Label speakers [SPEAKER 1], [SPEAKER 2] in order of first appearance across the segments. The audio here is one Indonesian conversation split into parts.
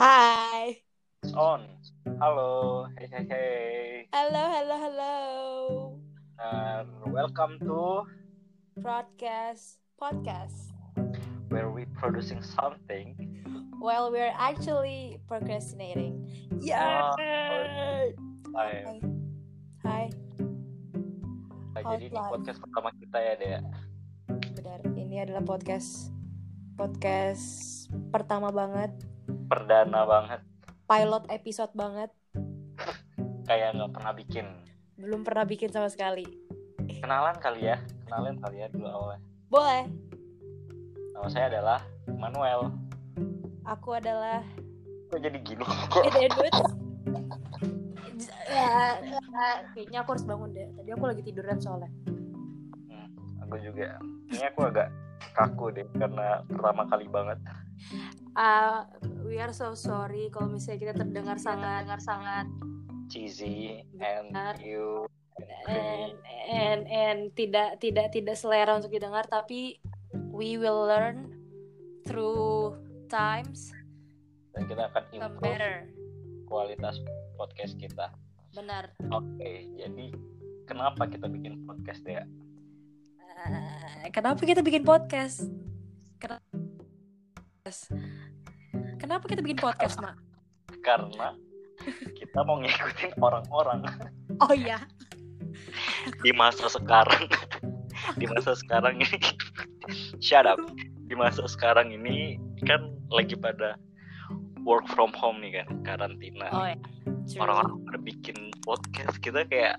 [SPEAKER 1] Hai.
[SPEAKER 2] It's on. Halo, hey hey hey.
[SPEAKER 1] Halo, halo, halo.
[SPEAKER 2] And welcome to
[SPEAKER 1] Broadcast podcast.
[SPEAKER 2] where we producing something.
[SPEAKER 1] Well, we're actually procrastinating. Yeah.
[SPEAKER 2] Time.
[SPEAKER 1] Hai,
[SPEAKER 2] Nah,
[SPEAKER 1] Hot
[SPEAKER 2] jadi ini
[SPEAKER 1] life.
[SPEAKER 2] podcast pertama kita ya, Dea.
[SPEAKER 1] benar. Ini adalah podcast podcast pertama banget,
[SPEAKER 2] Perdana banget,
[SPEAKER 1] pilot episode banget,
[SPEAKER 2] kayak nggak pernah bikin.
[SPEAKER 1] belum pernah bikin sama sekali.
[SPEAKER 2] Kenalan kali ya, kenalan kali ya dulu awalnya.
[SPEAKER 1] Boleh.
[SPEAKER 2] Nama saya adalah Manuel.
[SPEAKER 1] Aku adalah
[SPEAKER 2] Kok jadi gini?
[SPEAKER 1] Eh, Edwards. Ya, Kayaknya aku harus bangun deh. Tadi aku lagi tiduran soalnya.
[SPEAKER 2] aku juga. Ini aku agak kaku deh karena pertama kali banget.
[SPEAKER 1] Ah, we are so sorry kalau misalnya kita Iya, terdengar sangat dengar sangat
[SPEAKER 2] Cheesy and
[SPEAKER 1] Benar.
[SPEAKER 2] you
[SPEAKER 1] and, and and tidak tidak tidak selera untuk didengar tapi we will learn through times
[SPEAKER 2] dan kita akan
[SPEAKER 1] come
[SPEAKER 2] improve
[SPEAKER 1] better.
[SPEAKER 2] kualitas podcast kita.
[SPEAKER 1] Benar.
[SPEAKER 2] Oke, jadi kenapa kita bikin podcast ya?
[SPEAKER 1] Eh, kenapa kita bikin podcast? Kenapa Kenapa kita bikin podcast, Mak?
[SPEAKER 2] Karena kita mau ngikutin orang-orang
[SPEAKER 1] Oh iya.
[SPEAKER 2] di masa sekarang. di masa sekarang ini shut up. Di masa sekarang ini kan lagi pada work from home nih kan, karantina.
[SPEAKER 1] Oh
[SPEAKER 2] nih.
[SPEAKER 1] iya. True.
[SPEAKER 2] Orang-orang pada bikin podcast, kita kayak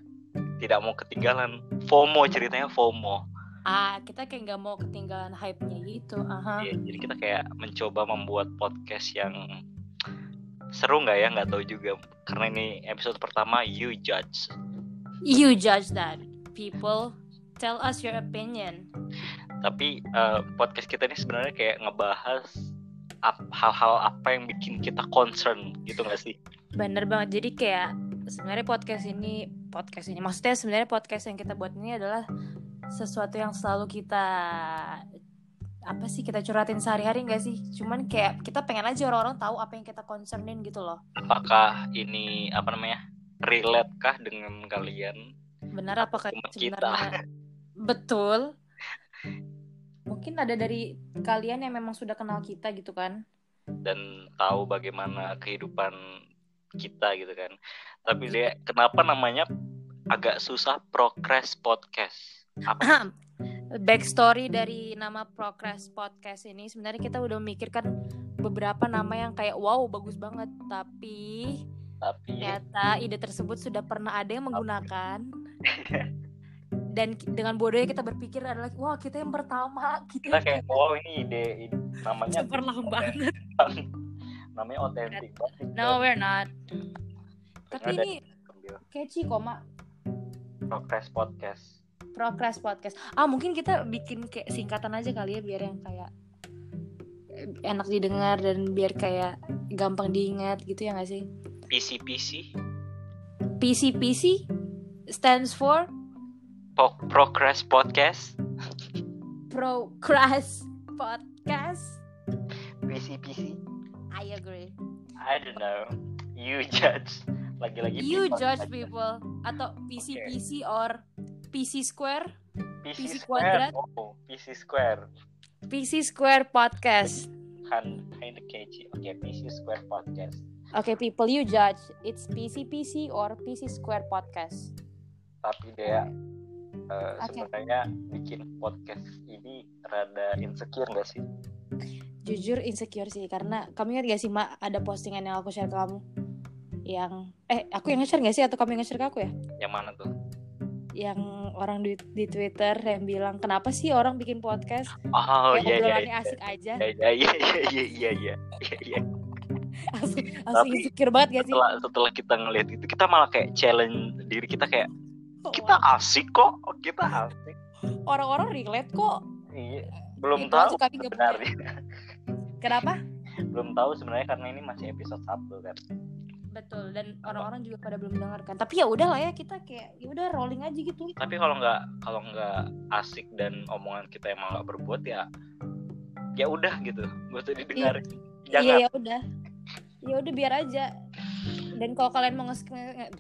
[SPEAKER 2] tidak mau ketinggalan. FOMO ceritanya FOMO.
[SPEAKER 1] Ah, kita kayak nggak mau ketinggalan hype-nya gitu. Aha.
[SPEAKER 2] Iya, jadi kita kayak mencoba membuat podcast yang seru nggak ya? Nggak tahu juga. Karena ini episode pertama, you judge.
[SPEAKER 1] You judge that. People tell us your opinion.
[SPEAKER 2] Tapi eh, podcast kita ini sebenarnya kayak ngebahas ap- hal-hal apa yang bikin kita concern gitu nggak sih?
[SPEAKER 1] Bener banget. Jadi kayak sebenarnya podcast ini podcast ini maksudnya sebenarnya podcast yang kita buat ini adalah sesuatu yang selalu kita apa sih kita curhatin sehari-hari nggak sih? Cuman kayak kita pengen aja orang-orang tahu apa yang kita concernin gitu loh.
[SPEAKER 2] Apakah ini apa namanya? Relate kah dengan kalian?
[SPEAKER 1] Benar apakah
[SPEAKER 2] Cuma kita.
[SPEAKER 1] sebenarnya betul? Mungkin ada dari kalian yang memang sudah kenal kita gitu kan?
[SPEAKER 2] dan tahu bagaimana kehidupan kita gitu kan. Tapi dia kenapa namanya agak susah progress podcast? Apa?
[SPEAKER 1] Ahem. Backstory dari nama Progress Podcast ini sebenarnya kita udah memikirkan beberapa nama yang kayak wow bagus banget tapi
[SPEAKER 2] Tapi
[SPEAKER 1] ternyata ide tersebut sudah pernah ada yang menggunakan dan ki- dengan bodohnya kita berpikir adalah wah kita yang pertama kita
[SPEAKER 2] kita kayak wow ini ide, ide- namanya
[SPEAKER 1] Super banget
[SPEAKER 2] namanya otentik banget.
[SPEAKER 1] no we're not tapi
[SPEAKER 2] Ada.
[SPEAKER 1] ini catchy kok mak
[SPEAKER 2] progress podcast.
[SPEAKER 1] Progress Podcast. Ah, mungkin kita bikin kayak singkatan aja kali ya biar yang kayak eh, enak didengar dan biar kayak gampang diingat gitu ya nggak sih?
[SPEAKER 2] PC PC
[SPEAKER 1] PCPC stands for
[SPEAKER 2] progress podcast.
[SPEAKER 1] Progress Podcast.
[SPEAKER 2] PC PC.
[SPEAKER 1] I agree.
[SPEAKER 2] I don't know. You judge. Lagi-lagi
[SPEAKER 1] You
[SPEAKER 2] people
[SPEAKER 1] judge
[SPEAKER 2] judge.
[SPEAKER 1] people atau PCPC or PC Square,
[SPEAKER 2] PC,
[SPEAKER 1] PC
[SPEAKER 2] square. Oh, PC square.
[SPEAKER 1] PC Square Podcast.
[SPEAKER 2] kan kinda catchy. Oke, PC Square Podcast.
[SPEAKER 1] Oke, people you judge. It's PCPC or PC Square Podcast.
[SPEAKER 2] Tapi dia eh,
[SPEAKER 1] Oke.
[SPEAKER 2] sebenarnya bikin podcast ini rada insecure gak sih?
[SPEAKER 1] jujur insecure sih karena kamu ingat gak sih mak ada postingan yang aku share ke kamu yang eh aku yang nge-share gak sih atau kamu yang nge-share ke aku ya
[SPEAKER 2] Yang mana tuh?
[SPEAKER 1] yang orang di, di Twitter yang bilang kenapa sih orang bikin podcast yang
[SPEAKER 2] Oh iya iya.
[SPEAKER 1] obrolannya
[SPEAKER 2] iya.
[SPEAKER 1] asik aja
[SPEAKER 2] Iya iya iya iya iya iya. Iya, iya.
[SPEAKER 1] asik, asik
[SPEAKER 2] Hmm, Tapi-
[SPEAKER 1] insecure banget gak sih
[SPEAKER 2] Setelah setelah kita ngelihat itu kita malah kayak challenge diri kita kayak
[SPEAKER 1] Oh,
[SPEAKER 2] kita asik kok, kita asik.
[SPEAKER 1] orang-orang relate kok
[SPEAKER 2] Iya. Belum
[SPEAKER 1] Itu
[SPEAKER 2] tahu
[SPEAKER 1] aja kami nggak punya.
[SPEAKER 2] sebenarnya.
[SPEAKER 1] kenapa
[SPEAKER 2] Belum tahu sebenarnya karena ini masih episode 1 kan.
[SPEAKER 1] betul dan orang-orang juga pada belum mendengarkan tapi ya udahlah ya kita kayak ya udah rolling aja gitu
[SPEAKER 2] Tapi kalau nggak kalau nggak asik dan omongan kita emang nggak berbuat ya ya udah gitu. Gue tuh didengarin. Jangan
[SPEAKER 1] iya ya Iya, udah ya udah biar aja dan kalau kalian mau ngeskip nge-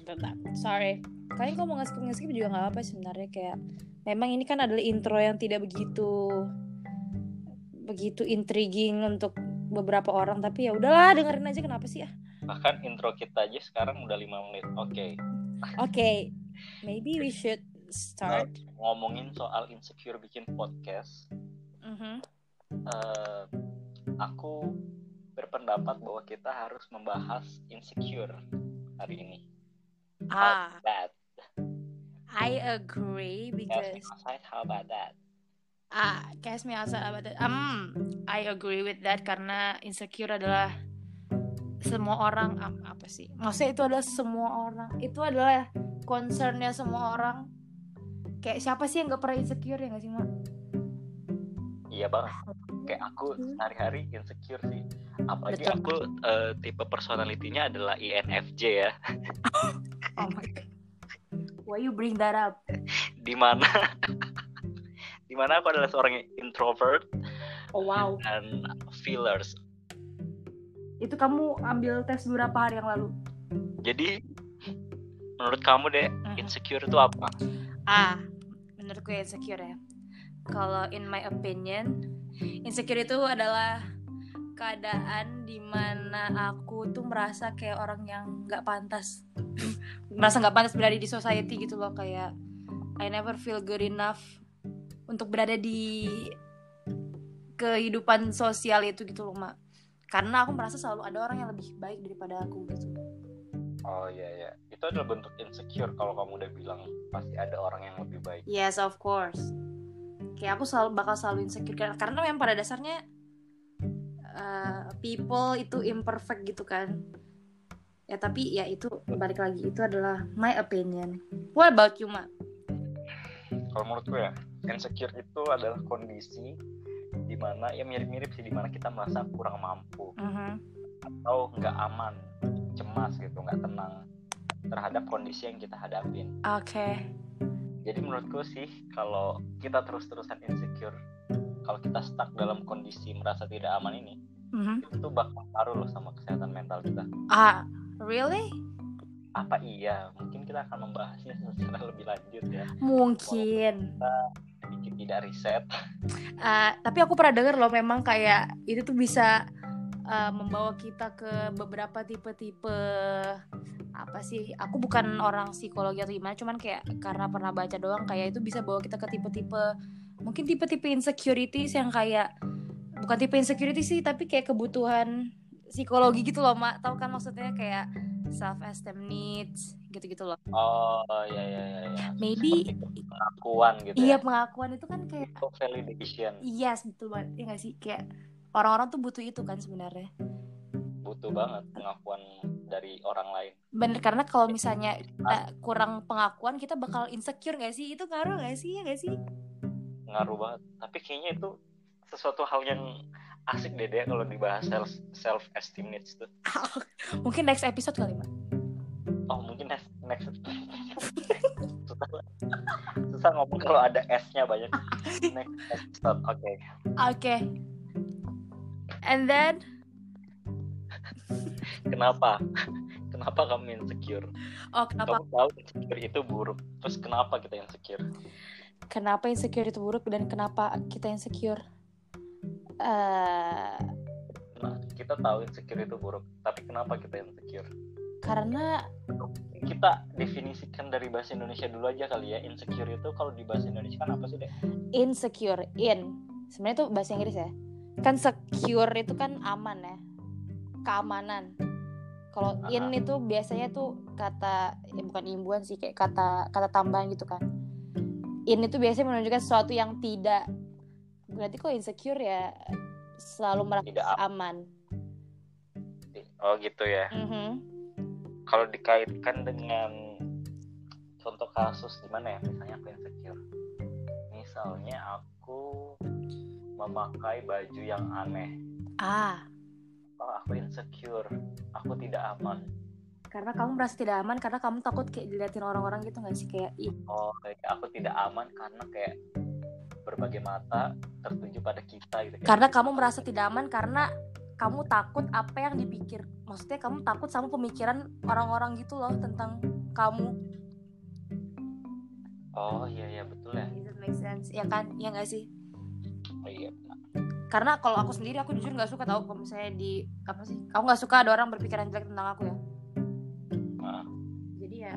[SPEAKER 1] sorry kalian kalau mau ngeskip ngeskip juga nggak apa-apa sebenarnya kayak memang ini kan adalah intro yang tidak begitu begitu intriguing untuk beberapa orang tapi ya udahlah dengerin aja kenapa sih ya
[SPEAKER 2] Bahkan intro kita aja sekarang udah 5 menit. Oke,
[SPEAKER 1] oke maybe we should start
[SPEAKER 2] ngomongin soal insecure bikin podcast.
[SPEAKER 1] Mhm.
[SPEAKER 2] eh, aku berpendapat bahwa kita harus membahas insecure hari ini.
[SPEAKER 1] ah
[SPEAKER 2] How about that?
[SPEAKER 1] I agree
[SPEAKER 2] Yes,
[SPEAKER 1] because
[SPEAKER 2] outside, how about that?
[SPEAKER 1] ah cast me outside about that. Um, I agree with that karena insecure adalah semua orang am- apa sih? Maksudnya itu adalah semua orang. Itu adalah concernnya semua orang. Kayak siapa sih yang gak pernah insecure ya gak sih, Ma?
[SPEAKER 2] Iya banget. Kayak aku sehari-hari insecure sih. Apalagi
[SPEAKER 1] Hmm. Betul.
[SPEAKER 2] aku eh, tipe personalitinya adalah INFJ ya.
[SPEAKER 1] Oh my god. Why you bring that up?
[SPEAKER 2] Dimana dimana aku adalah seorang introvert
[SPEAKER 1] Oh wow.
[SPEAKER 2] dan feelers.
[SPEAKER 1] Itu kamu ambil tes beberapa hari yang lalu.
[SPEAKER 2] Jadi menurut kamu deh insecure itu apa?
[SPEAKER 1] Ah, menurut gue insecure ya. Kalau in my opinion, insecure itu adalah keadaan dimana aku tuh merasa kayak orang yang nggak pantas, merasa nggak pantas berada di society gitu loh kayak I never feel good enough untuk berada di kehidupan sosial itu gitu loh mak. Karena aku merasa selalu ada orang yang lebih baik daripada aku gitu.
[SPEAKER 2] Oh iya iya. Itu adalah bentuk insecure kalau kamu udah bilang pasti ada orang yang lebih baik.
[SPEAKER 1] Yes, of course. Kayak aku selalu bakal selalu insecure kar- karena memang pada dasarnya uh, people itu imperfect gitu kan. Ya tapi ya itu balik lagi itu adalah my opinion. What about you, Ma?
[SPEAKER 2] Kalau menurut gue ya, insecure itu adalah kondisi dimana ya mirip-mirip sih dimana kita merasa kurang mampu
[SPEAKER 1] Mm-hmm.
[SPEAKER 2] atau nggak aman, cemas gitu, nggak tenang terhadap kondisi yang kita hadapin.
[SPEAKER 1] Oke.
[SPEAKER 2] Jadi menurutku sih kalau kita terus-terusan insecure, kalau kita stuck dalam kondisi merasa tidak aman ini,
[SPEAKER 1] Mm-hmm.
[SPEAKER 2] itu tuh bakal ngaruh loh sama kesehatan mental kita.
[SPEAKER 1] Ah, really?
[SPEAKER 2] Apa iya? Mungkin kita akan membahasnya secara lebih lanjut ya.
[SPEAKER 1] Mungkin.
[SPEAKER 2] Sedikit tidak riset.
[SPEAKER 1] Ah, tapi aku pernah dengar loh memang kayak itu tuh bisa ah, membawa kita ke beberapa tipe-tipe apa sih aku bukan orang psikologi atau gimana cuman kayak karena pernah baca doang kayak itu bisa bawa kita ke tipe-tipe mungkin tipe-tipe insecurities yang kayak bukan tipe insecurity sih tapi kayak kebutuhan psikologi gitu loh mak tahu kan maksudnya kayak self esteem needs gitu-gitu loh
[SPEAKER 2] Oh iya iya iya. iya.
[SPEAKER 1] Maybe-
[SPEAKER 2] Seperti pengakuan gitu
[SPEAKER 1] iya
[SPEAKER 2] ya.
[SPEAKER 1] pengakuan itu kan kayak
[SPEAKER 2] Itu validation
[SPEAKER 1] Iya, betul banget. Iya gak sih? Kayak orang-orang tuh butuh itu kan sebenarnya.
[SPEAKER 2] butuh
[SPEAKER 1] Iya.
[SPEAKER 2] banget pengakuan dari orang lain.
[SPEAKER 1] Bener, karena kalau misalnya kita kurang pengakuan, kita bakal insecure gak sih? Itu ngaruh gak sih? Iya gak sih?
[SPEAKER 2] Ngaruh banget. Tapi kayaknya itu sesuatu hal yang asik deh deh kalau dibahas self self esteem needs tuh.
[SPEAKER 1] Mungkin next episode kali, Mbak.
[SPEAKER 2] Oh mungkin next next susah, susah ngomong kalau ada S-nya banyak. Next episode. Oke.
[SPEAKER 1] Oke. And then,
[SPEAKER 2] Kenapa? Kenapa kamu insecure?
[SPEAKER 1] oh kenapa?
[SPEAKER 2] Kamu tahu insecure itu buruk. Terus kenapa kita insecure?
[SPEAKER 1] Kenapa insecure itu buruk dan kenapa kita insecure? Eh,
[SPEAKER 2] Nah, kita tahu insecure itu buruk, tapi kenapa kita insecure?
[SPEAKER 1] karena
[SPEAKER 2] kita definisikan dari bahasa Indonesia dulu aja kali ya insecure itu kalau di bahasa Indonesia kan apa sih deh
[SPEAKER 1] insecure in sebenarnya itu bahasa Inggris ya kan secure itu kan aman ya keamanan kalau in itu biasanya tuh kata ya bukan imbuhan sih kayak kata kata tambahan gitu kan in itu biasanya menunjukkan sesuatu yang tidak berarti kok insecure ya selalu merasa
[SPEAKER 2] Tidak aman.
[SPEAKER 1] aman
[SPEAKER 2] oh gitu ya
[SPEAKER 1] Mhm.
[SPEAKER 2] kalau dikaitkan dengan contoh kasus gimana ya misalnya aku insecure misalnya aku memakai baju yang aneh
[SPEAKER 1] ah
[SPEAKER 2] oh aku insecure aku tidak aman
[SPEAKER 1] karena kamu merasa tidak aman karena kamu takut kayak diliatin orang-orang gitu nggak sih kayak "Ih,
[SPEAKER 2] oh kayak aku tidak aman karena kayak berbagai mata tertuju pada kita gitu
[SPEAKER 1] karena kamu merasa tidak aman karena kamu takut apa yang dipikir maksudnya kamu takut sama pemikiran orang-orang gitu loh tentang kamu
[SPEAKER 2] oh iya iya betul ya
[SPEAKER 1] Does it make sense ya kan ya nggak sih
[SPEAKER 2] oh, iya
[SPEAKER 1] karena kalau aku sendiri aku jujur nggak suka tau kalau misalnya di apa sih aku nggak suka ada orang berpikiran jelek tentang aku ya
[SPEAKER 2] Ah.
[SPEAKER 1] jadi ya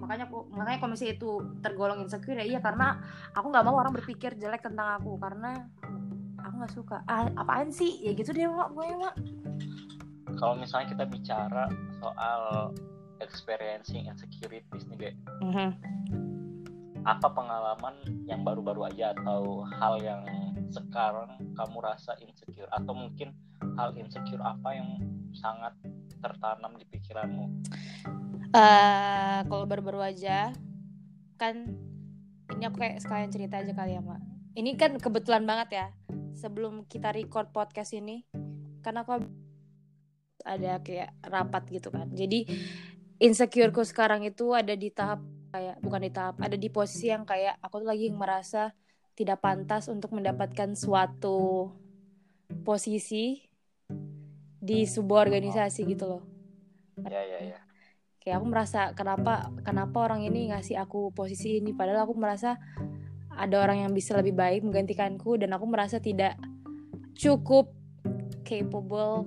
[SPEAKER 1] makanya aku makanya kalau misalnya itu tergolong insecure ya iya karena aku nggak mau orang berpikir jelek tentang aku karena aku nggak suka ah, apaan sih ya gitu deh Wak, gue Wak.
[SPEAKER 2] kalau misalnya kita bicara soal experiencing insecurities nih kayak apa pengalaman yang baru-baru aja atau hal yang sekarang kamu rasa insecure atau mungkin hal insecure apa yang sangat tertanam di pikiranmu
[SPEAKER 1] Eh, kalau baru-baru aja kan ini aku kayak sekalian cerita aja kali ya mak ini kan kebetulan banget ya sebelum kita record podcast ini karena aku ada kayak rapat gitu kan jadi insecureku sekarang itu ada di tahap kayak bukan di tahap ada di posisi yang kayak aku tuh lagi merasa tidak pantas untuk mendapatkan suatu posisi di sebuah organisasi gitu loh
[SPEAKER 2] ya ya ya
[SPEAKER 1] kayak aku merasa kenapa kenapa orang ini ngasih aku posisi ini padahal aku merasa ada orang yang bisa lebih baik menggantikanku dan aku merasa tidak cukup capable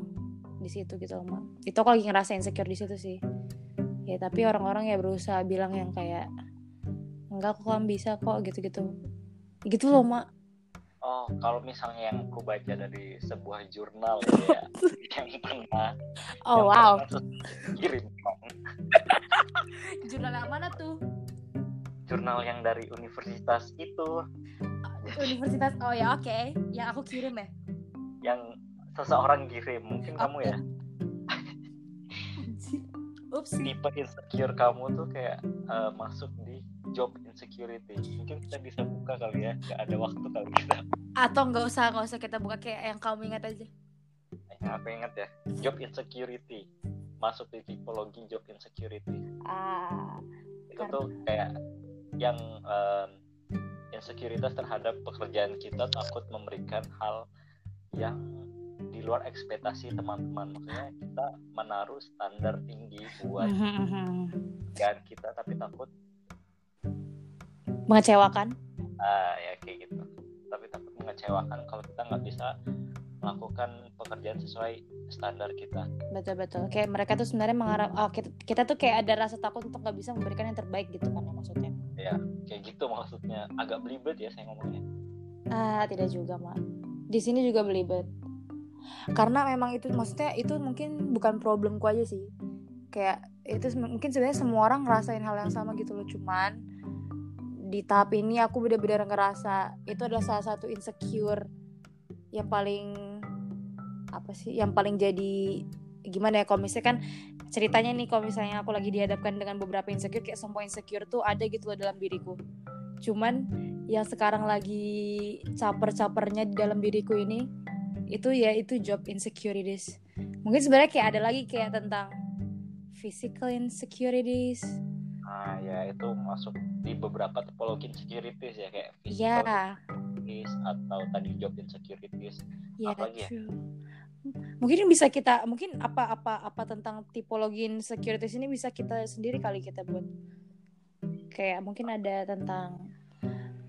[SPEAKER 1] di situ gitu loh Mak. itu aku lagi ngerasa insecure di situ sih ya tapi orang-orang ya berusaha bilang yang kayak enggak kok kamu bisa kok gitu-gitu gitu loh mak
[SPEAKER 2] oh kalau misalnya yang aku baca dari sebuah jurnal ya yang pernah
[SPEAKER 1] oh
[SPEAKER 2] yang
[SPEAKER 1] wow
[SPEAKER 2] pernah terus kirim
[SPEAKER 1] jurnal yang mana tuh
[SPEAKER 2] jurnal yang dari universitas itu
[SPEAKER 1] universitas oh ya oke yang aku kirim ya
[SPEAKER 2] yang seseorang kirim mungkin kamu ya
[SPEAKER 1] ups
[SPEAKER 2] tipe insecure kamu tuh kayak eh, masuk di job insecurity mungkin kita bisa buka kali ya nggak ada waktu kali kita
[SPEAKER 1] atau nggak usah nggak usah kita buka kayak yang kamu ingat aja
[SPEAKER 2] ya, aku ingat ya job insecurity masuk di tipologi job insecurity
[SPEAKER 1] ah
[SPEAKER 2] itu tuh kayak yang em, insekuritas terhadap pekerjaan kita takut memberikan hal yang di luar ekspektasi teman-teman maksudnya kita menaruh standar tinggi buat
[SPEAKER 1] Hmm.
[SPEAKER 2] pekerjaan kita tapi takut
[SPEAKER 1] mengecewakan
[SPEAKER 2] ah ya kayak gitu tapi takut mengecewakan kalau kita nggak bisa melakukan pekerjaan sesuai standar kita
[SPEAKER 1] betul betul kayak mereka tuh sebenarnya mengharap oh, kita, kita tuh kayak ada rasa takut untuk nggak bisa memberikan yang terbaik gitu kan ya maksudnya
[SPEAKER 2] kayak gitu maksudnya agak belibet ya saya ngomongnya
[SPEAKER 1] ah tidak juga mak di sini juga belibet karena memang itu maksudnya itu mungkin bukan problemku aja sih kayak itu se- mungkin sebenarnya semua orang ngerasain hal yang sama gitu loh cuman di tahap ini aku benar-benar ngerasa itu adalah salah satu insecure yang paling apa sih yang paling jadi gimana ya kalau misalnya kan ceritanya nih kalau misalnya aku lagi dihadapkan dengan beberapa insecure kayak semua insecure tuh ada gitu loh dalam diriku cuman yang sekarang lagi caper-capernya di dalam diriku ini itu ya itu job insecurities mungkin sebenarnya kayak ada lagi kayak tentang physical insecurities
[SPEAKER 2] nah ya itu masuk di beberapa tipologi insecurities ya kayak
[SPEAKER 1] ya
[SPEAKER 2] physical insecurities atau tadi job insecurities
[SPEAKER 1] ya
[SPEAKER 2] Apa lagi ya?
[SPEAKER 1] true. mungkin bisa kita mungkin apa apa apa tentang tipologi insecurities ini bisa kita sendiri kali kita buat kayak mungkin ada tentang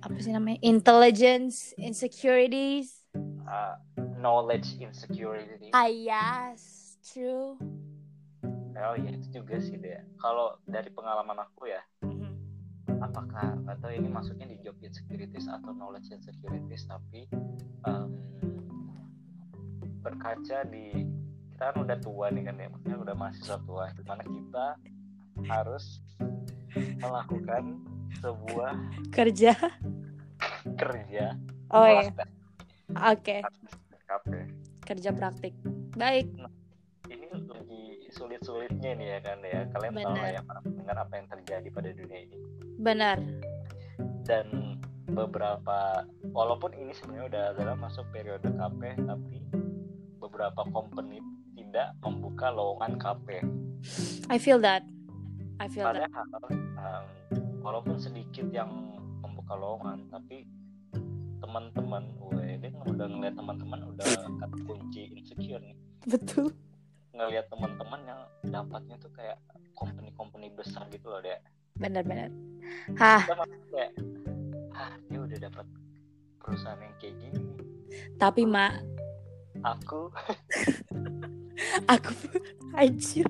[SPEAKER 1] apa sih namanya intelligence insecurities
[SPEAKER 2] Ah, knowledge insecurity
[SPEAKER 1] Ah. ayas true
[SPEAKER 2] oh ya itu juga sih deh kalau dari pengalaman aku ya apakah nggak tahu ini masuknya di job insecurities atau knowledge insecurities tapi em, berkaca di kita kan udah tua nih kan ya maksudnya udah mahasiswa tua dimana kita harus melakukan sebuah
[SPEAKER 1] kerja
[SPEAKER 2] kerja
[SPEAKER 1] oh
[SPEAKER 2] kelas
[SPEAKER 1] ya
[SPEAKER 2] tes
[SPEAKER 1] oke
[SPEAKER 2] SKP.
[SPEAKER 1] kerja praktik baik
[SPEAKER 2] ya. ini lagi sulit-sulitnya nih ya kan ya kalian tahu lah
[SPEAKER 1] Benar.
[SPEAKER 2] ya para pendengar apa yang terjadi pada dunia ini
[SPEAKER 1] benar
[SPEAKER 2] dan beberapa walaupun ini sebenarnya udah dalam masuk periode KP tapi beberapa company tidak membuka lowongan KP
[SPEAKER 1] I feel that I feel that
[SPEAKER 2] padahal em, walaupun sedikit yang membuka lowongan tapi E teman-teman gue ini udah ngeliat teman-teman udah kata kunci insecure nih
[SPEAKER 1] betul
[SPEAKER 2] ngelihat teman-teman yang dapatnya tuh kayak company-company besar gitu loh deh
[SPEAKER 1] benar-benar hah
[SPEAKER 2] kita malah kayak ah dia udah dapat perusahaan yang kayak gini
[SPEAKER 1] tapi mak
[SPEAKER 2] aku
[SPEAKER 1] aku anjir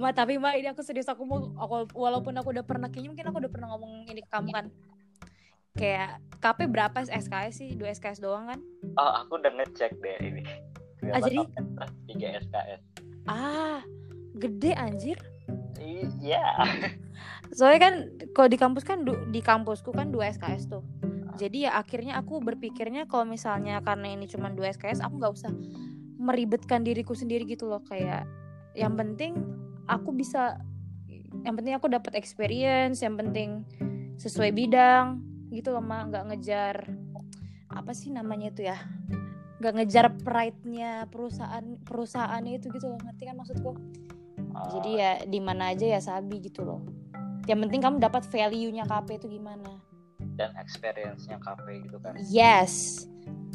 [SPEAKER 1] Ma tapi Ma ini aku serius aku mau aku- walaupun aku udah pernah kayaknya mungkin aku udah pernah ngomong ini ke kamu kan kayak KP berapa SKS sih dua SKS doang kan
[SPEAKER 2] oh aku udah ngecek deh ini
[SPEAKER 1] Ah, jadi-
[SPEAKER 2] tiga SKS
[SPEAKER 1] ah gede anjir
[SPEAKER 2] iya
[SPEAKER 1] soalnya kan kalau di kampus kan du- di kampusku kan dua SKS tuh jadi ya akhirnya aku berpikirnya kalau misalnya karena ini cuma dua SKS aku nggak usah meribetkan diriku sendiri gitu loh kayak yang penting aku bisa yang penting aku dapat experience yang penting sesuai bidang gitu loh mah nggak ngejar apa sih namanya itu ya nggak ngejar pride-nya perusahaan perusahaannya itu gitu loh ngerti kan maksudku
[SPEAKER 2] Oh,
[SPEAKER 1] jadi ya di mana aja ya sabi gitu loh. Yang penting kamu dapat value-nya KP itu gimana.
[SPEAKER 2] dan experience-nya kafe gitu kan
[SPEAKER 1] Yes.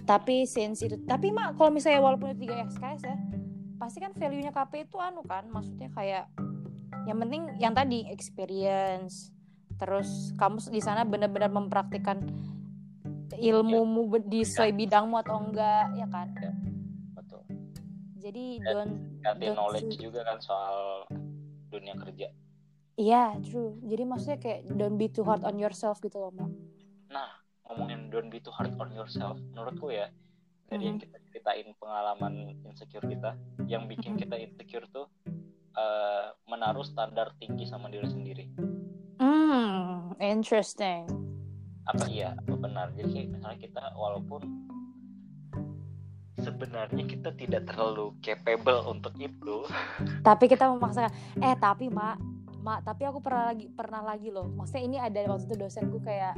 [SPEAKER 1] Tapi since itu tapi mak kalau misalnya walaupun itu 3 SKS ya, pasti kan value-nya KP itu anu kan, maksudnya kayak yang penting yang tadi experience. Terus kamu di sana benar-benar mempraktikkan ilmumu be- di
[SPEAKER 2] Ya.
[SPEAKER 1] sesuai bidangmu atau enggak ya kan.
[SPEAKER 2] betul
[SPEAKER 1] Jadi
[SPEAKER 2] Ya,
[SPEAKER 1] don't
[SPEAKER 2] ganti
[SPEAKER 1] Betul.
[SPEAKER 2] knowledge juga kan soal dunia kerja
[SPEAKER 1] Iya, true. Jadi maksudnya kayak don't be too hard on yourself gitu loh, Mak.
[SPEAKER 2] ngomongin don't be too hard on yourself menurutku ya dari yang kita ceritain pengalaman insecure kita yang bikin
[SPEAKER 1] Mhm.
[SPEAKER 2] kita insecure tuh eh, menaruh standar tinggi sama diri sendiri
[SPEAKER 1] Hmm, interesting.
[SPEAKER 2] apa iya apa benar jadi kayak misalnya kita walaupun sebenarnya kita tidak terlalu capable untuk itu
[SPEAKER 1] Tapi kita memaksakan. Eh, tapi mak, mak, tapi aku pernah lagi pernah lagi loh. Maksudnya ini ada waktu itu dosenku kayak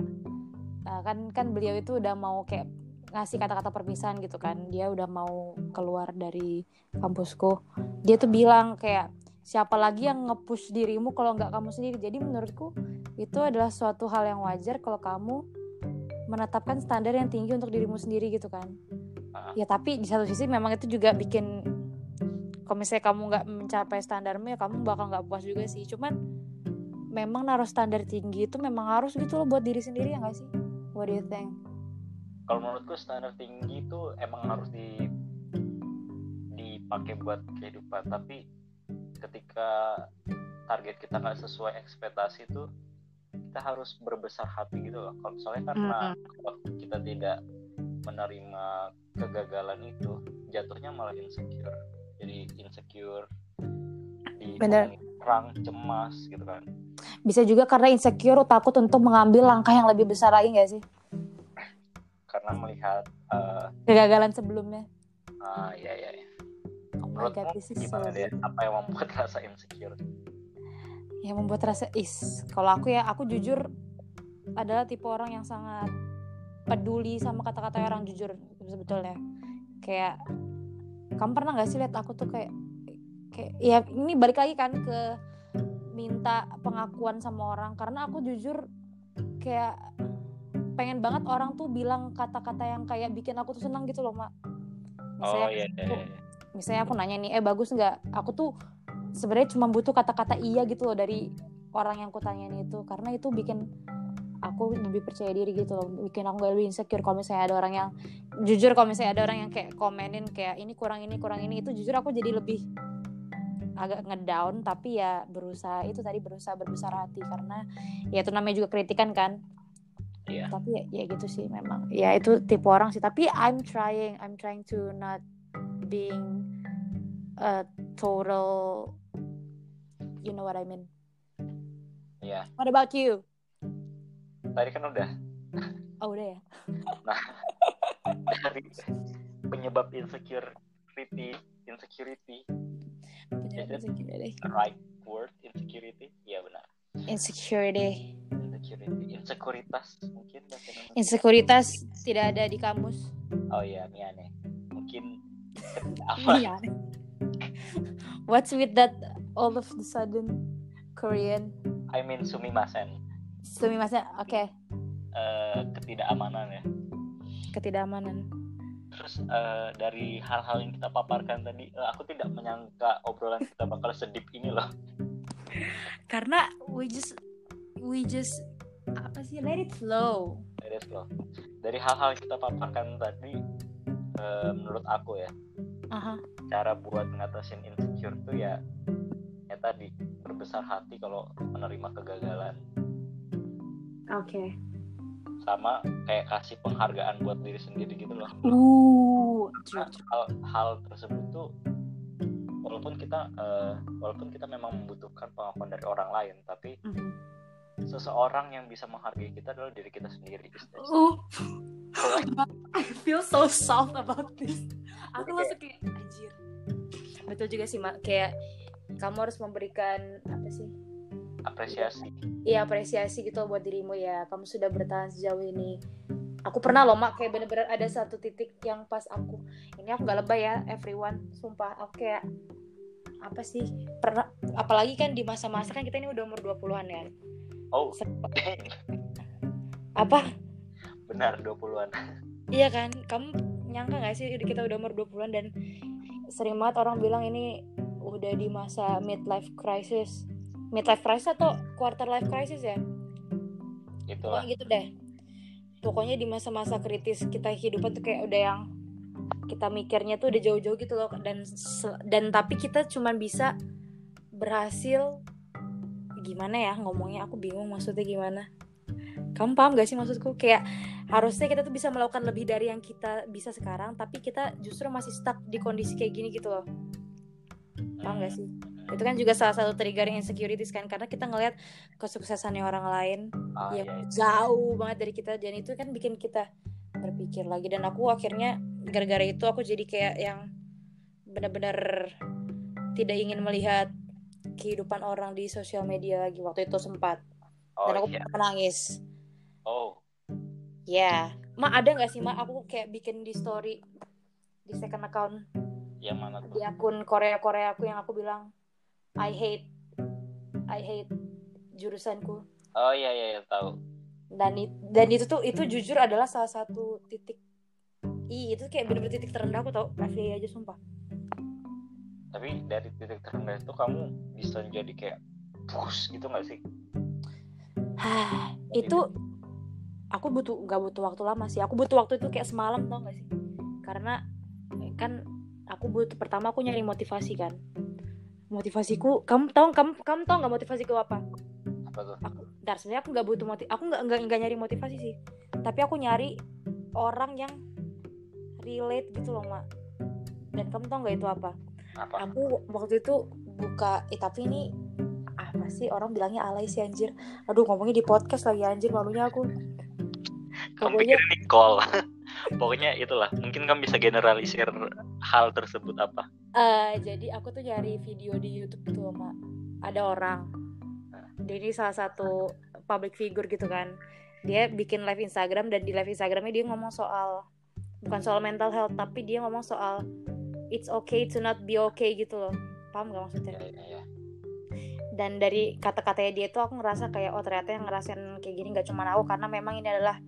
[SPEAKER 1] eh, kan kan beliau itu udah mau kayak ngasih kata-kata perpisahan gitu kan. Dia udah mau keluar dari kampusku. Dia tuh bilang kayak siapa lagi yang nge-push dirimu kalau nggak kamu sendiri. Jadi menurutku itu adalah suatu hal yang wajar kalau kamu menetapkan standar yang tinggi untuk dirimu sendiri gitu kan.
[SPEAKER 2] Ah.
[SPEAKER 1] Ya tapi di satu sisi memang itu juga bikin kalau misalnya kamu nggak mencapai standarmu ya kamu bakal nggak puas juga sih. Cuman memang naruh standar tinggi itu memang harus gitu loh buat diri sendiri ya nggak sih? What do you think?
[SPEAKER 2] kalau menurutku standar tinggi itu emang harus di dipakai buat kehidupan tapi ketika target kita nggak sesuai ekspektasi itu kita harus berbesar hati gitu loh kalau soalnya karena kalau kita tidak menerima kegagalan itu jatuhnya malah insecure jadi insecure di
[SPEAKER 1] Bener.
[SPEAKER 2] orang cemas gitu kan
[SPEAKER 1] Bisa juga karena insecure takut untuk mengambil langkah yang lebih besar lagi nggak sih?
[SPEAKER 2] karena melihat eh,
[SPEAKER 1] Kegagalan sebelumnya.
[SPEAKER 2] ah ya ya ya.
[SPEAKER 1] Oh my
[SPEAKER 2] menurutmu
[SPEAKER 1] god, this is so
[SPEAKER 2] gimana deh apa yang membuat rasa insecure
[SPEAKER 1] yang membuat rasa is kalau aku ya aku jujur adalah tipe orang yang sangat peduli sama kata-kata orang jujur sebetulnya kayak kamu pernah nggak sih lihat aku tuh kayak kayak ya ini balik lagi kan ke minta pengakuan sama orang karena aku jujur kayak pengen banget orang tuh bilang kata-kata yang kayak bikin aku tuh senang gitu loh mak Misalnya
[SPEAKER 2] oh iya iya, iya.
[SPEAKER 1] misalnya aku nanya nih eh bagus nggak aku tuh sebenarnya cuma butuh kata-kata iya gitu loh dari orang yang kutanyain itu karena itu bikin aku lebih percaya diri gitu loh bikin aku gak lebih insecure kalau misalnya ada orang yang jujur kalau misalnya ada orang yang kayak komenin kayak ini kurang ini kurang ini itu jujur aku jadi lebih agak ngedown tapi ya berusaha itu tadi berusaha berbesar hati karena ya itu namanya juga kritikan kan
[SPEAKER 2] Iya.
[SPEAKER 1] tapi ya, ya gitu sih memang ya itu tipe orang sih tapi I'm trying I'm trying to not being a total you know what I mean
[SPEAKER 2] Iya.
[SPEAKER 1] what about you
[SPEAKER 2] tadi kan udah
[SPEAKER 1] oh udah ya
[SPEAKER 2] dari penyebab insecurity insecurity
[SPEAKER 1] Bener, insecurity
[SPEAKER 2] right word insecurity iya benar
[SPEAKER 1] insecurity
[SPEAKER 2] insecurity insekuritas mungkin bahasa Indonesia.
[SPEAKER 1] insekuritas tidak ada di kamus
[SPEAKER 2] oh iya Mia nih mungkin apa
[SPEAKER 1] iya what's with that all of the sudden Korean
[SPEAKER 2] I mean sumimasen
[SPEAKER 1] sumimasen oke
[SPEAKER 2] Eh, ketidakamanan ya
[SPEAKER 1] ketidakamanan
[SPEAKER 2] terus eh, dari hal-hal yang kita paparkan tadi eh, aku tidak menyangka obrolan kita bakal sedip ini loh
[SPEAKER 1] Karena we just we just apa sih let it flow.
[SPEAKER 2] serius loh dari hal-hal yang kita paparkan tadi eh, menurut aku ya
[SPEAKER 1] Aha.
[SPEAKER 2] cara buat ngatasin insecure tuh ya ya tadi berbesar hati kalau menerima kegagalan
[SPEAKER 1] Oke.
[SPEAKER 2] sama kayak kasih penghargaan buat diri sendiri gitu loh
[SPEAKER 1] Uh,
[SPEAKER 2] Nah, hal hal tersebut tuh walaupun kita eh, walaupun kita memang membutuhkan pengakuan dari orang lain tapi
[SPEAKER 1] Mm-hmm.
[SPEAKER 2] seseorang yang bisa menghargai kita adalah diri kita sendiri
[SPEAKER 1] Uh, I feel so soft about this. Aku
[SPEAKER 2] Oke.
[SPEAKER 1] langsung kayak anjir. Betul juga sih, Mak. Kayak kamu harus memberikan apa sih?
[SPEAKER 2] apresiasi
[SPEAKER 1] Iya, apresiasi gitu buat dirimu ya. Kamu sudah bertahan sejauh ini. Aku pernah loh, Mak, kayak bener-bener ada satu titik yang pas aku ini aku nggak lebay ya, everyone. Sumpah, aku kayak apa sih? Pernah apalagi kan di masa-masa kan kita ini udah umur 20-an ya.
[SPEAKER 2] oh
[SPEAKER 1] Sempat- Apa?
[SPEAKER 2] benar 20-an
[SPEAKER 1] Iya kan, kamu nyangka gak sih kita udah umur 20-an dan sering banget orang bilang ini udah di masa midlife crisis. Midlife crisis atau quarter life crisis ya?
[SPEAKER 2] itulah
[SPEAKER 1] Pokoknya gitu deh. Pokoknya di masa-masa kritis kita kehidupan tuh kayak udah yang kita mikirnya tuh udah jauh-jauh gitu loh dan se- dan tapi kita cuman bisa berhasil gimana ya ngomongnya aku bingung maksudnya gimana. Kamu paham gak sih maksudku kayak harusnya kita tuh bisa melakukan lebih dari yang kita bisa sekarang tapi kita justru masih stuck di kondisi kayak gini gitu loh. Paham gak sih? Itu kan juga salah satu trigger insecurities kan karena kita ngelihat kesuksesannya orang lain
[SPEAKER 2] Ah,
[SPEAKER 1] yang
[SPEAKER 2] ya, itu.
[SPEAKER 1] jauh banget dari kita dan itu kan bikin kita berpikir lagi dan aku akhirnya gara-gara itu aku jadi kayak yang benar-benar tidak ingin melihat kehidupan orang di sosial media lagi waktu itu sempat
[SPEAKER 2] oh
[SPEAKER 1] dan aku
[SPEAKER 2] iya
[SPEAKER 1] menangis
[SPEAKER 2] oh
[SPEAKER 1] ya ma ada nggak sih ma aku kayak bikin di story di second account
[SPEAKER 2] yang iya, mana
[SPEAKER 1] di
[SPEAKER 2] tuh
[SPEAKER 1] akun Korea Korea aku yang aku bilang I hate I hate jurusanku
[SPEAKER 2] oh iya iya iya, tahu
[SPEAKER 1] dan it- dan itu tuh itu jujur adalah salah satu titik i itu kayak bener-bener titik terendah aku tau FYI aja sumpah
[SPEAKER 2] tapi dari titik terendah itu kamu bisa jadi kayak push gitu nggak sih
[SPEAKER 1] Hah, itu aku butuh nggak butuh waktu lama sih aku butuh waktu itu kayak semalam tau gak sih karena eh, kan aku butuh pertama aku nyari motivasi kan motivasiku kamu tau kamu kamu tau nggak motivasiku apa
[SPEAKER 2] apa tuh
[SPEAKER 1] aku dar sebenarnya aku nggak butuh motiv aku nggak nggak nggak nyari motivasi sih tapi aku nyari orang yang relate gitu loh mak dan kamu tau nggak itu apa
[SPEAKER 2] apa
[SPEAKER 1] aku waktu itu buka eh tapi ini apa sih orang bilangnya alay sih anjir aduh ngomongnya di podcast lagi anjir malunya aku
[SPEAKER 2] kamu
[SPEAKER 1] Pokoknya-
[SPEAKER 2] pikir ini call pokoknya itulah mungkin kamu bisa generalisir hal tersebut apa
[SPEAKER 1] Eh, jadi aku tuh nyari video di YouTube tuh sama ada orang dia ini salah satu public figure gitu kan dia bikin live Instagram dan di live Instagramnya dia ngomong soal bukan soal mental health tapi dia ngomong soal it's okay to not be okay gitu loh paham gak maksudnya
[SPEAKER 2] ya ya ya
[SPEAKER 1] dan dari kata-katanya dia tuh aku ngerasa kayak oh ternyata yang ngerasain kayak gini nggak cuma aku karena memang ini adalah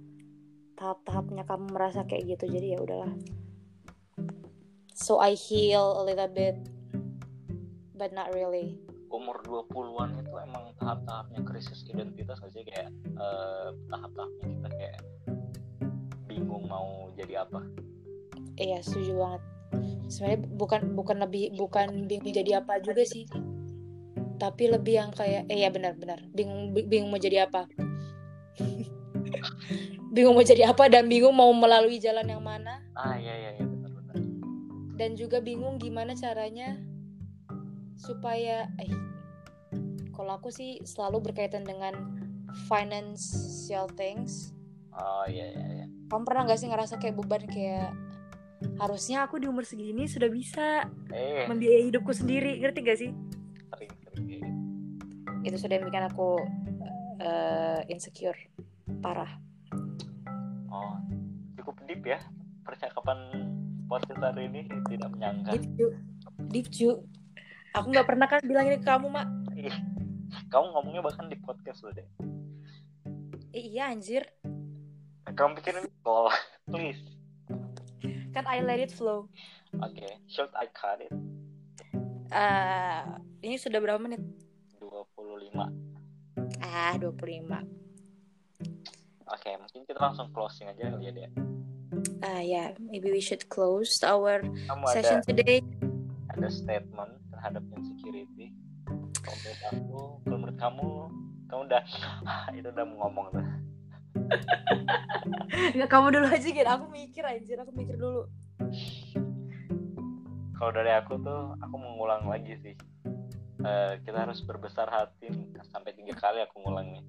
[SPEAKER 1] tahap-tahapnya kamu merasa kayak gitu jadi ya udahlah so I heal a little bit but not really
[SPEAKER 2] umur 20-an itu emang tahap-tahapnya krisis identitas aja kayak eh, tahap-tahapnya kita kayak bingung mau jadi apa
[SPEAKER 1] iya setuju banget sebenarnya bukan bukan lebih bukan bingung jadi apa juga sih tapi lebih yang kayak eh ya benar-benar bingung bingung mau jadi apa bingung mau jadi apa dan bingung mau melalui jalan yang mana
[SPEAKER 2] ah iya iya iya benar-benar
[SPEAKER 1] dan juga bingung gimana caranya supaya eh kalau aku sih selalu berkaitan dengan financial things
[SPEAKER 2] oh iya iya iya
[SPEAKER 1] kamu pernah nggak sih ngerasa kayak beban kayak harusnya aku di umur segini sudah bisa
[SPEAKER 2] eh
[SPEAKER 1] membiayai hidupku sendiri ngerti gak sih
[SPEAKER 2] sering sering kayak gitu.
[SPEAKER 1] itu sudah yang bikin aku eh, insecure parah
[SPEAKER 2] oh cukup deep ya percakapan podcast hari ini tidak menyangka
[SPEAKER 1] deep cu deep cu aku nggak pernah kan bilang ini ke kamu mak
[SPEAKER 2] kamu ngomongnya bahkan di podcast loh deh
[SPEAKER 1] Eh, iya anjir
[SPEAKER 2] kamu pikirin call please
[SPEAKER 1] kan I let it flow.
[SPEAKER 2] Oke, should I cut it?
[SPEAKER 1] Eh, ini sudah berapa menit?
[SPEAKER 2] 25.
[SPEAKER 1] Ah, 25.
[SPEAKER 2] Oke, mungkin kita langsung closing aja kali ya, Dea.
[SPEAKER 1] Ah, ya, maybe we should close our
[SPEAKER 2] Kamu
[SPEAKER 1] session
[SPEAKER 2] ada
[SPEAKER 1] today.
[SPEAKER 2] ada statement terhadap insecurity. Kalau menurut aku, kalau menurut kamu, kamu udah itu udah mau ngomong tuh.
[SPEAKER 1] Nggak, kamu dulu aja gitu. Aku mikir anjir, aku mikir dulu.
[SPEAKER 2] Kalau dari aku tuh, aku mengulang lagi sih. Eh, kita harus berbesar hati nih. sampai tiga kali aku ngulang nih.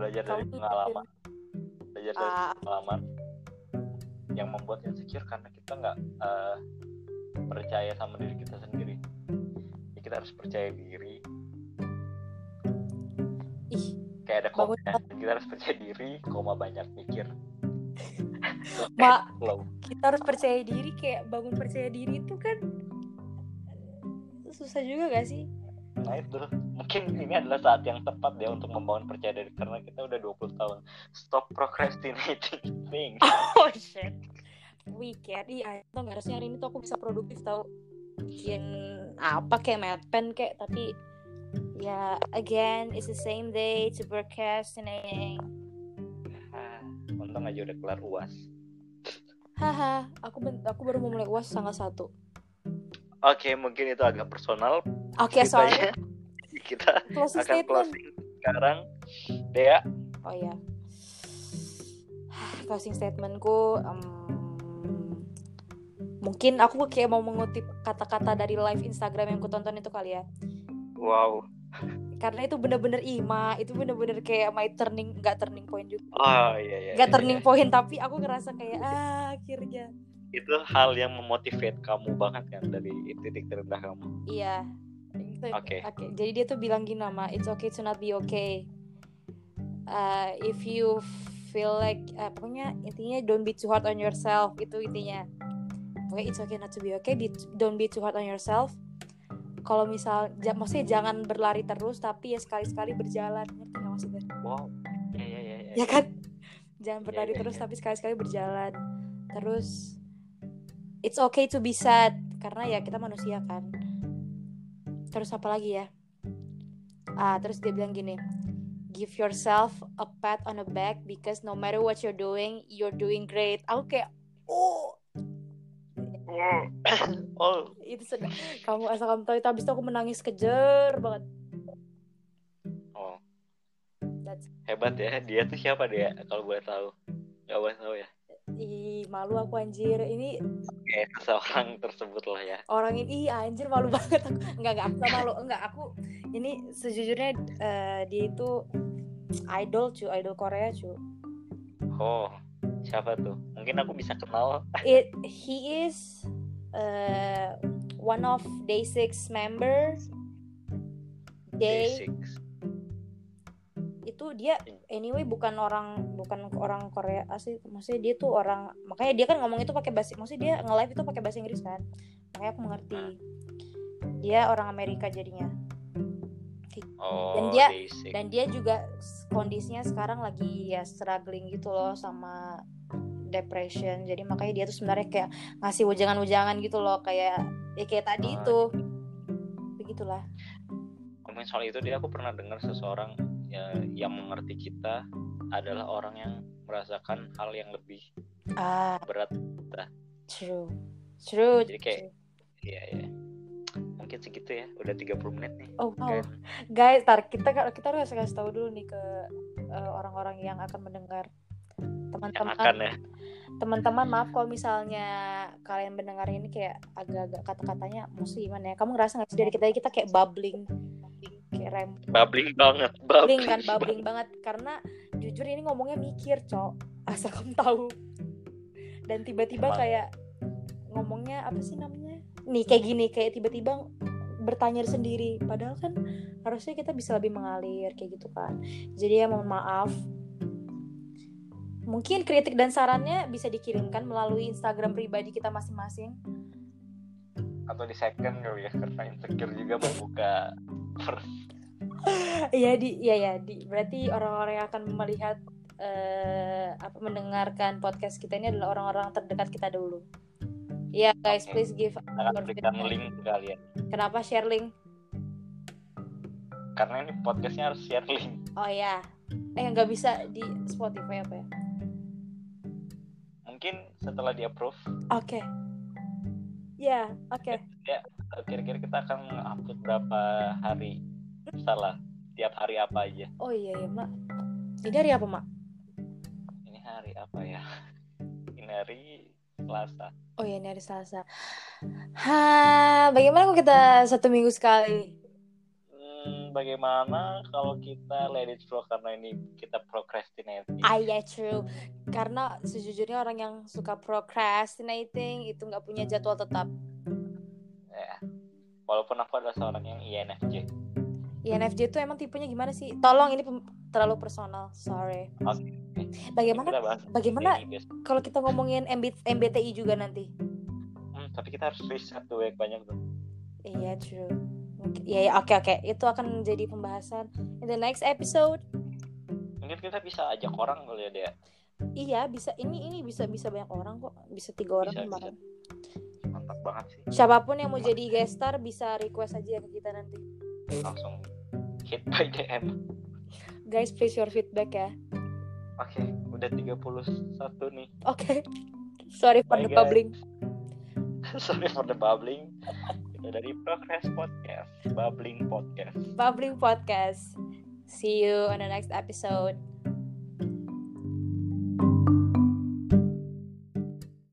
[SPEAKER 2] Belajar dari
[SPEAKER 1] Kamu
[SPEAKER 2] pengalaman, belajar dari
[SPEAKER 1] Ah.
[SPEAKER 2] pengalaman yang membuat insecure karena kita nggak eh, percaya sama diri kita sendiri. Jadi kita harus percaya diri,
[SPEAKER 1] Ih,
[SPEAKER 2] kayak ada
[SPEAKER 1] Bangun.
[SPEAKER 2] komanya kita harus percaya diri koma banyak mikir
[SPEAKER 1] Mak,
[SPEAKER 2] low
[SPEAKER 1] kita harus percaya diri kayak bangun percaya diri itu kan susah juga gak sih?
[SPEAKER 2] nah itu mungkin ini adalah saat yang tepat ya untuk membangun percaya diri karena kita udah 20 tahun stop procrastinating thing
[SPEAKER 1] Oh shit. Weekend iya tuh nggak harusnya hari ini tuh aku bisa produktif tau bikin apa kayak madpen kayak tapi ya again it's the same day to procrastinating.
[SPEAKER 2] Ah, untung aja udah kelar uas
[SPEAKER 1] Haha, aku ben- aku baru mau mulai uas tanggal satu.
[SPEAKER 2] oke mungkin itu agak personal
[SPEAKER 1] Oke, soalnya
[SPEAKER 2] ceritanya. kita
[SPEAKER 1] closing
[SPEAKER 2] akan
[SPEAKER 1] statement.
[SPEAKER 2] closing sekarang Dea
[SPEAKER 1] Oh ya. Closing statementku em, mungkin aku kayak mau mengutip kata-kata dari live Instagram yang ku tonton itu kali ya.
[SPEAKER 2] wow
[SPEAKER 1] Karena itu bener-bener ima, itu bener-bener kayak my turning nggak turning point juga.
[SPEAKER 2] oh iya iya
[SPEAKER 1] Nggak
[SPEAKER 2] iya,
[SPEAKER 1] turning
[SPEAKER 2] iya.
[SPEAKER 1] point tapi aku ngerasa kayak ah akhirnya.
[SPEAKER 2] itu hal yang memotivate kamu banget kan dari titik terendah kamu
[SPEAKER 1] Iya. Itu-
[SPEAKER 2] Oke.
[SPEAKER 1] Jadi dia tuh bilang gini nama, it's okay to not be okay. Uh, if you feel like uh, pokoknya intinya don't be too hard on yourself itu intinya. Pokoknya it's okay not to be okay, be- don't be too hard on yourself. Kalau misal, ja- maksudnya jangan berlari terus, tapi ya sekali-sekali berjalan. Ngerti nggak maksudnya?
[SPEAKER 2] wow iya iya iya, iya.
[SPEAKER 1] ya kan jangan berlari
[SPEAKER 2] iya,
[SPEAKER 1] terus
[SPEAKER 2] iya.
[SPEAKER 1] tapi sekali-sekali berjalan terus it's okay to be sad karena ya kita manusia kan terus apa lagi ya ah terus dia bilang gini give yourself a pat on the back because no matter what you're doing you're doing great aku kayak oh
[SPEAKER 2] oh
[SPEAKER 1] itu sedap kamu asal kamu tahu itu habis itu aku menangis kejer banget
[SPEAKER 2] Oh.
[SPEAKER 1] That's-
[SPEAKER 2] Hebat ya, dia tuh siapa dia kalau boleh tahu? Gak boleh tahu ya.
[SPEAKER 1] ih malu aku anjir ini
[SPEAKER 2] Oke, seorang tersebut lah ya.
[SPEAKER 1] orang ini ih anjir malu banget aku nggak nggak aku nggak malu nggak aku ini sejujurnya eh, dia itu idol cu idol Korea cu
[SPEAKER 2] Oh, siapa tuh? Mungkin aku bisa kenal.
[SPEAKER 1] it he is eh, one of day six member day
[SPEAKER 2] Day6.
[SPEAKER 1] itu dia anyway bukan orang bukan orang Korea asli maksudnya dia tuh orang makanya dia kan ngomong itu pakai bahasa maksudnya dia nge-live itu pakai bahasa Inggris kan makanya aku mengerti dia orang Amerika jadinya Dan
[SPEAKER 2] Oh,
[SPEAKER 1] dia-
[SPEAKER 2] Day6.
[SPEAKER 1] dan dia juga s- kondisinya sekarang lagi ya struggling gitu loh sama depression jadi makanya dia tuh sebenarnya kayak ngasih ujangan-ujangan gitu loh kayak ya kayak tadi
[SPEAKER 2] Ah,
[SPEAKER 1] itu begitulah
[SPEAKER 2] Ngomongin soal itu dia aku pernah dengar seseorang ya, yang mengerti kita adalah orang yang merasakan hal yang lebih
[SPEAKER 1] ah
[SPEAKER 2] berat.
[SPEAKER 1] true true
[SPEAKER 2] Jadi kayak-
[SPEAKER 1] true.
[SPEAKER 2] Iya, iya. Mungkin segitu ya. Udah 30 menit nih.
[SPEAKER 1] oh wow
[SPEAKER 2] Kan?
[SPEAKER 1] guys tar kita kita harus kasih tahu dulu nih ke eh, orang-orang yang akan mendengar
[SPEAKER 2] Yang
[SPEAKER 1] teman-teman
[SPEAKER 2] akan ya.
[SPEAKER 1] teman-teman maaf kalau misalnya kalian mendengar ini kayak agak-agak kata-katanya mesti gimana ya kamu ngerasa nggak sih dari kita tadi kita kayak bubbling kayak rem
[SPEAKER 2] Bubbling banget.
[SPEAKER 1] bubbling
[SPEAKER 2] Bubbling,
[SPEAKER 1] kan bubbling banget karena jujur ini ngomongnya mikir cok asal kamu tahu dan tiba-tiba
[SPEAKER 2] Emang.
[SPEAKER 1] kayak ngomongnya apa sih namanya nih kayak gini kayak tiba-tiba bertanya sendiri padahal kan harusnya kita bisa lebih mengalir kayak gitu kan jadi ya mohon maaf mungkin kritik dan sarannya bisa dikirimkan melalui Instagram pribadi kita masing-masing
[SPEAKER 2] Atau di second kali ya. Karena insecure juga membuka
[SPEAKER 1] Iya di iya ya di berarti orang-orang yang akan melihat eh, apa mendengarkan podcast kita ini adalah orang-orang terdekat kita dulu. Iya guys,
[SPEAKER 2] Oke.
[SPEAKER 1] please give
[SPEAKER 2] Kita akan berikan link ya. ke kalian
[SPEAKER 1] Kenapa share link?
[SPEAKER 2] karena ini podcastnya harus share link
[SPEAKER 1] Oh ya. Eh nggak bisa di Spotify apa ya?
[SPEAKER 2] mungkin setelah di approve
[SPEAKER 1] Oke. Ya, oke.
[SPEAKER 2] eh, kira-kira kita akan upload berapa hari salah tiap hari apa aja
[SPEAKER 1] Oh iya ya, Mak. Ini dari apa, Mak?
[SPEAKER 2] ini hari apa ya ini hari Selasa
[SPEAKER 1] Oh iya, ini hari Selasa. Ha, bagaimana kalau kita satu minggu sekali?
[SPEAKER 2] Hmm, bagaimana kalau kita let it flow karena ini kita procrastinating
[SPEAKER 1] Ah iya, true. Karena sejujurnya orang yang suka procrastinating itu nggak punya jadwal tetap.
[SPEAKER 2] Ya. walaupun aku adalah seorang yang INFJ
[SPEAKER 1] INFJ itu emang tipenya gimana sih? Tolong ini pem- terlalu personal, sorry.
[SPEAKER 2] Oke.
[SPEAKER 1] Bagaimana
[SPEAKER 2] Kita bahas
[SPEAKER 1] bagaimana
[SPEAKER 2] dari bias-
[SPEAKER 1] kalau kita ngomongin MB- MBTI juga nanti?
[SPEAKER 2] Hmm, tapi kita harus riset tuh ya, banyak tuh
[SPEAKER 1] Iya, true. Mungkin- Iya, iya, oke oke. Itu akan menjadi pembahasan in the next episode.
[SPEAKER 2] mungkin kita bisa ajak orang kali ya dia
[SPEAKER 1] Iya, bisa ini ini bisa bisa banyak orang kok. Bisa tiga orang
[SPEAKER 2] Bisa,
[SPEAKER 1] kemarin.
[SPEAKER 2] mantap banget sih
[SPEAKER 1] Siapapun yang mau jadi guest star bisa request aja ke kita nanti.
[SPEAKER 2] langsung hit by DM
[SPEAKER 1] Guys, please your feedback ya.
[SPEAKER 2] oke udah 31 nih
[SPEAKER 1] Oke. Sorry for
[SPEAKER 2] Bye,
[SPEAKER 1] the
[SPEAKER 2] guys.
[SPEAKER 1] bubbling.
[SPEAKER 2] sorry for the bubbling kita dari progress podcast bubbling podcast
[SPEAKER 1] Bubbling podcast. See you on the next episode.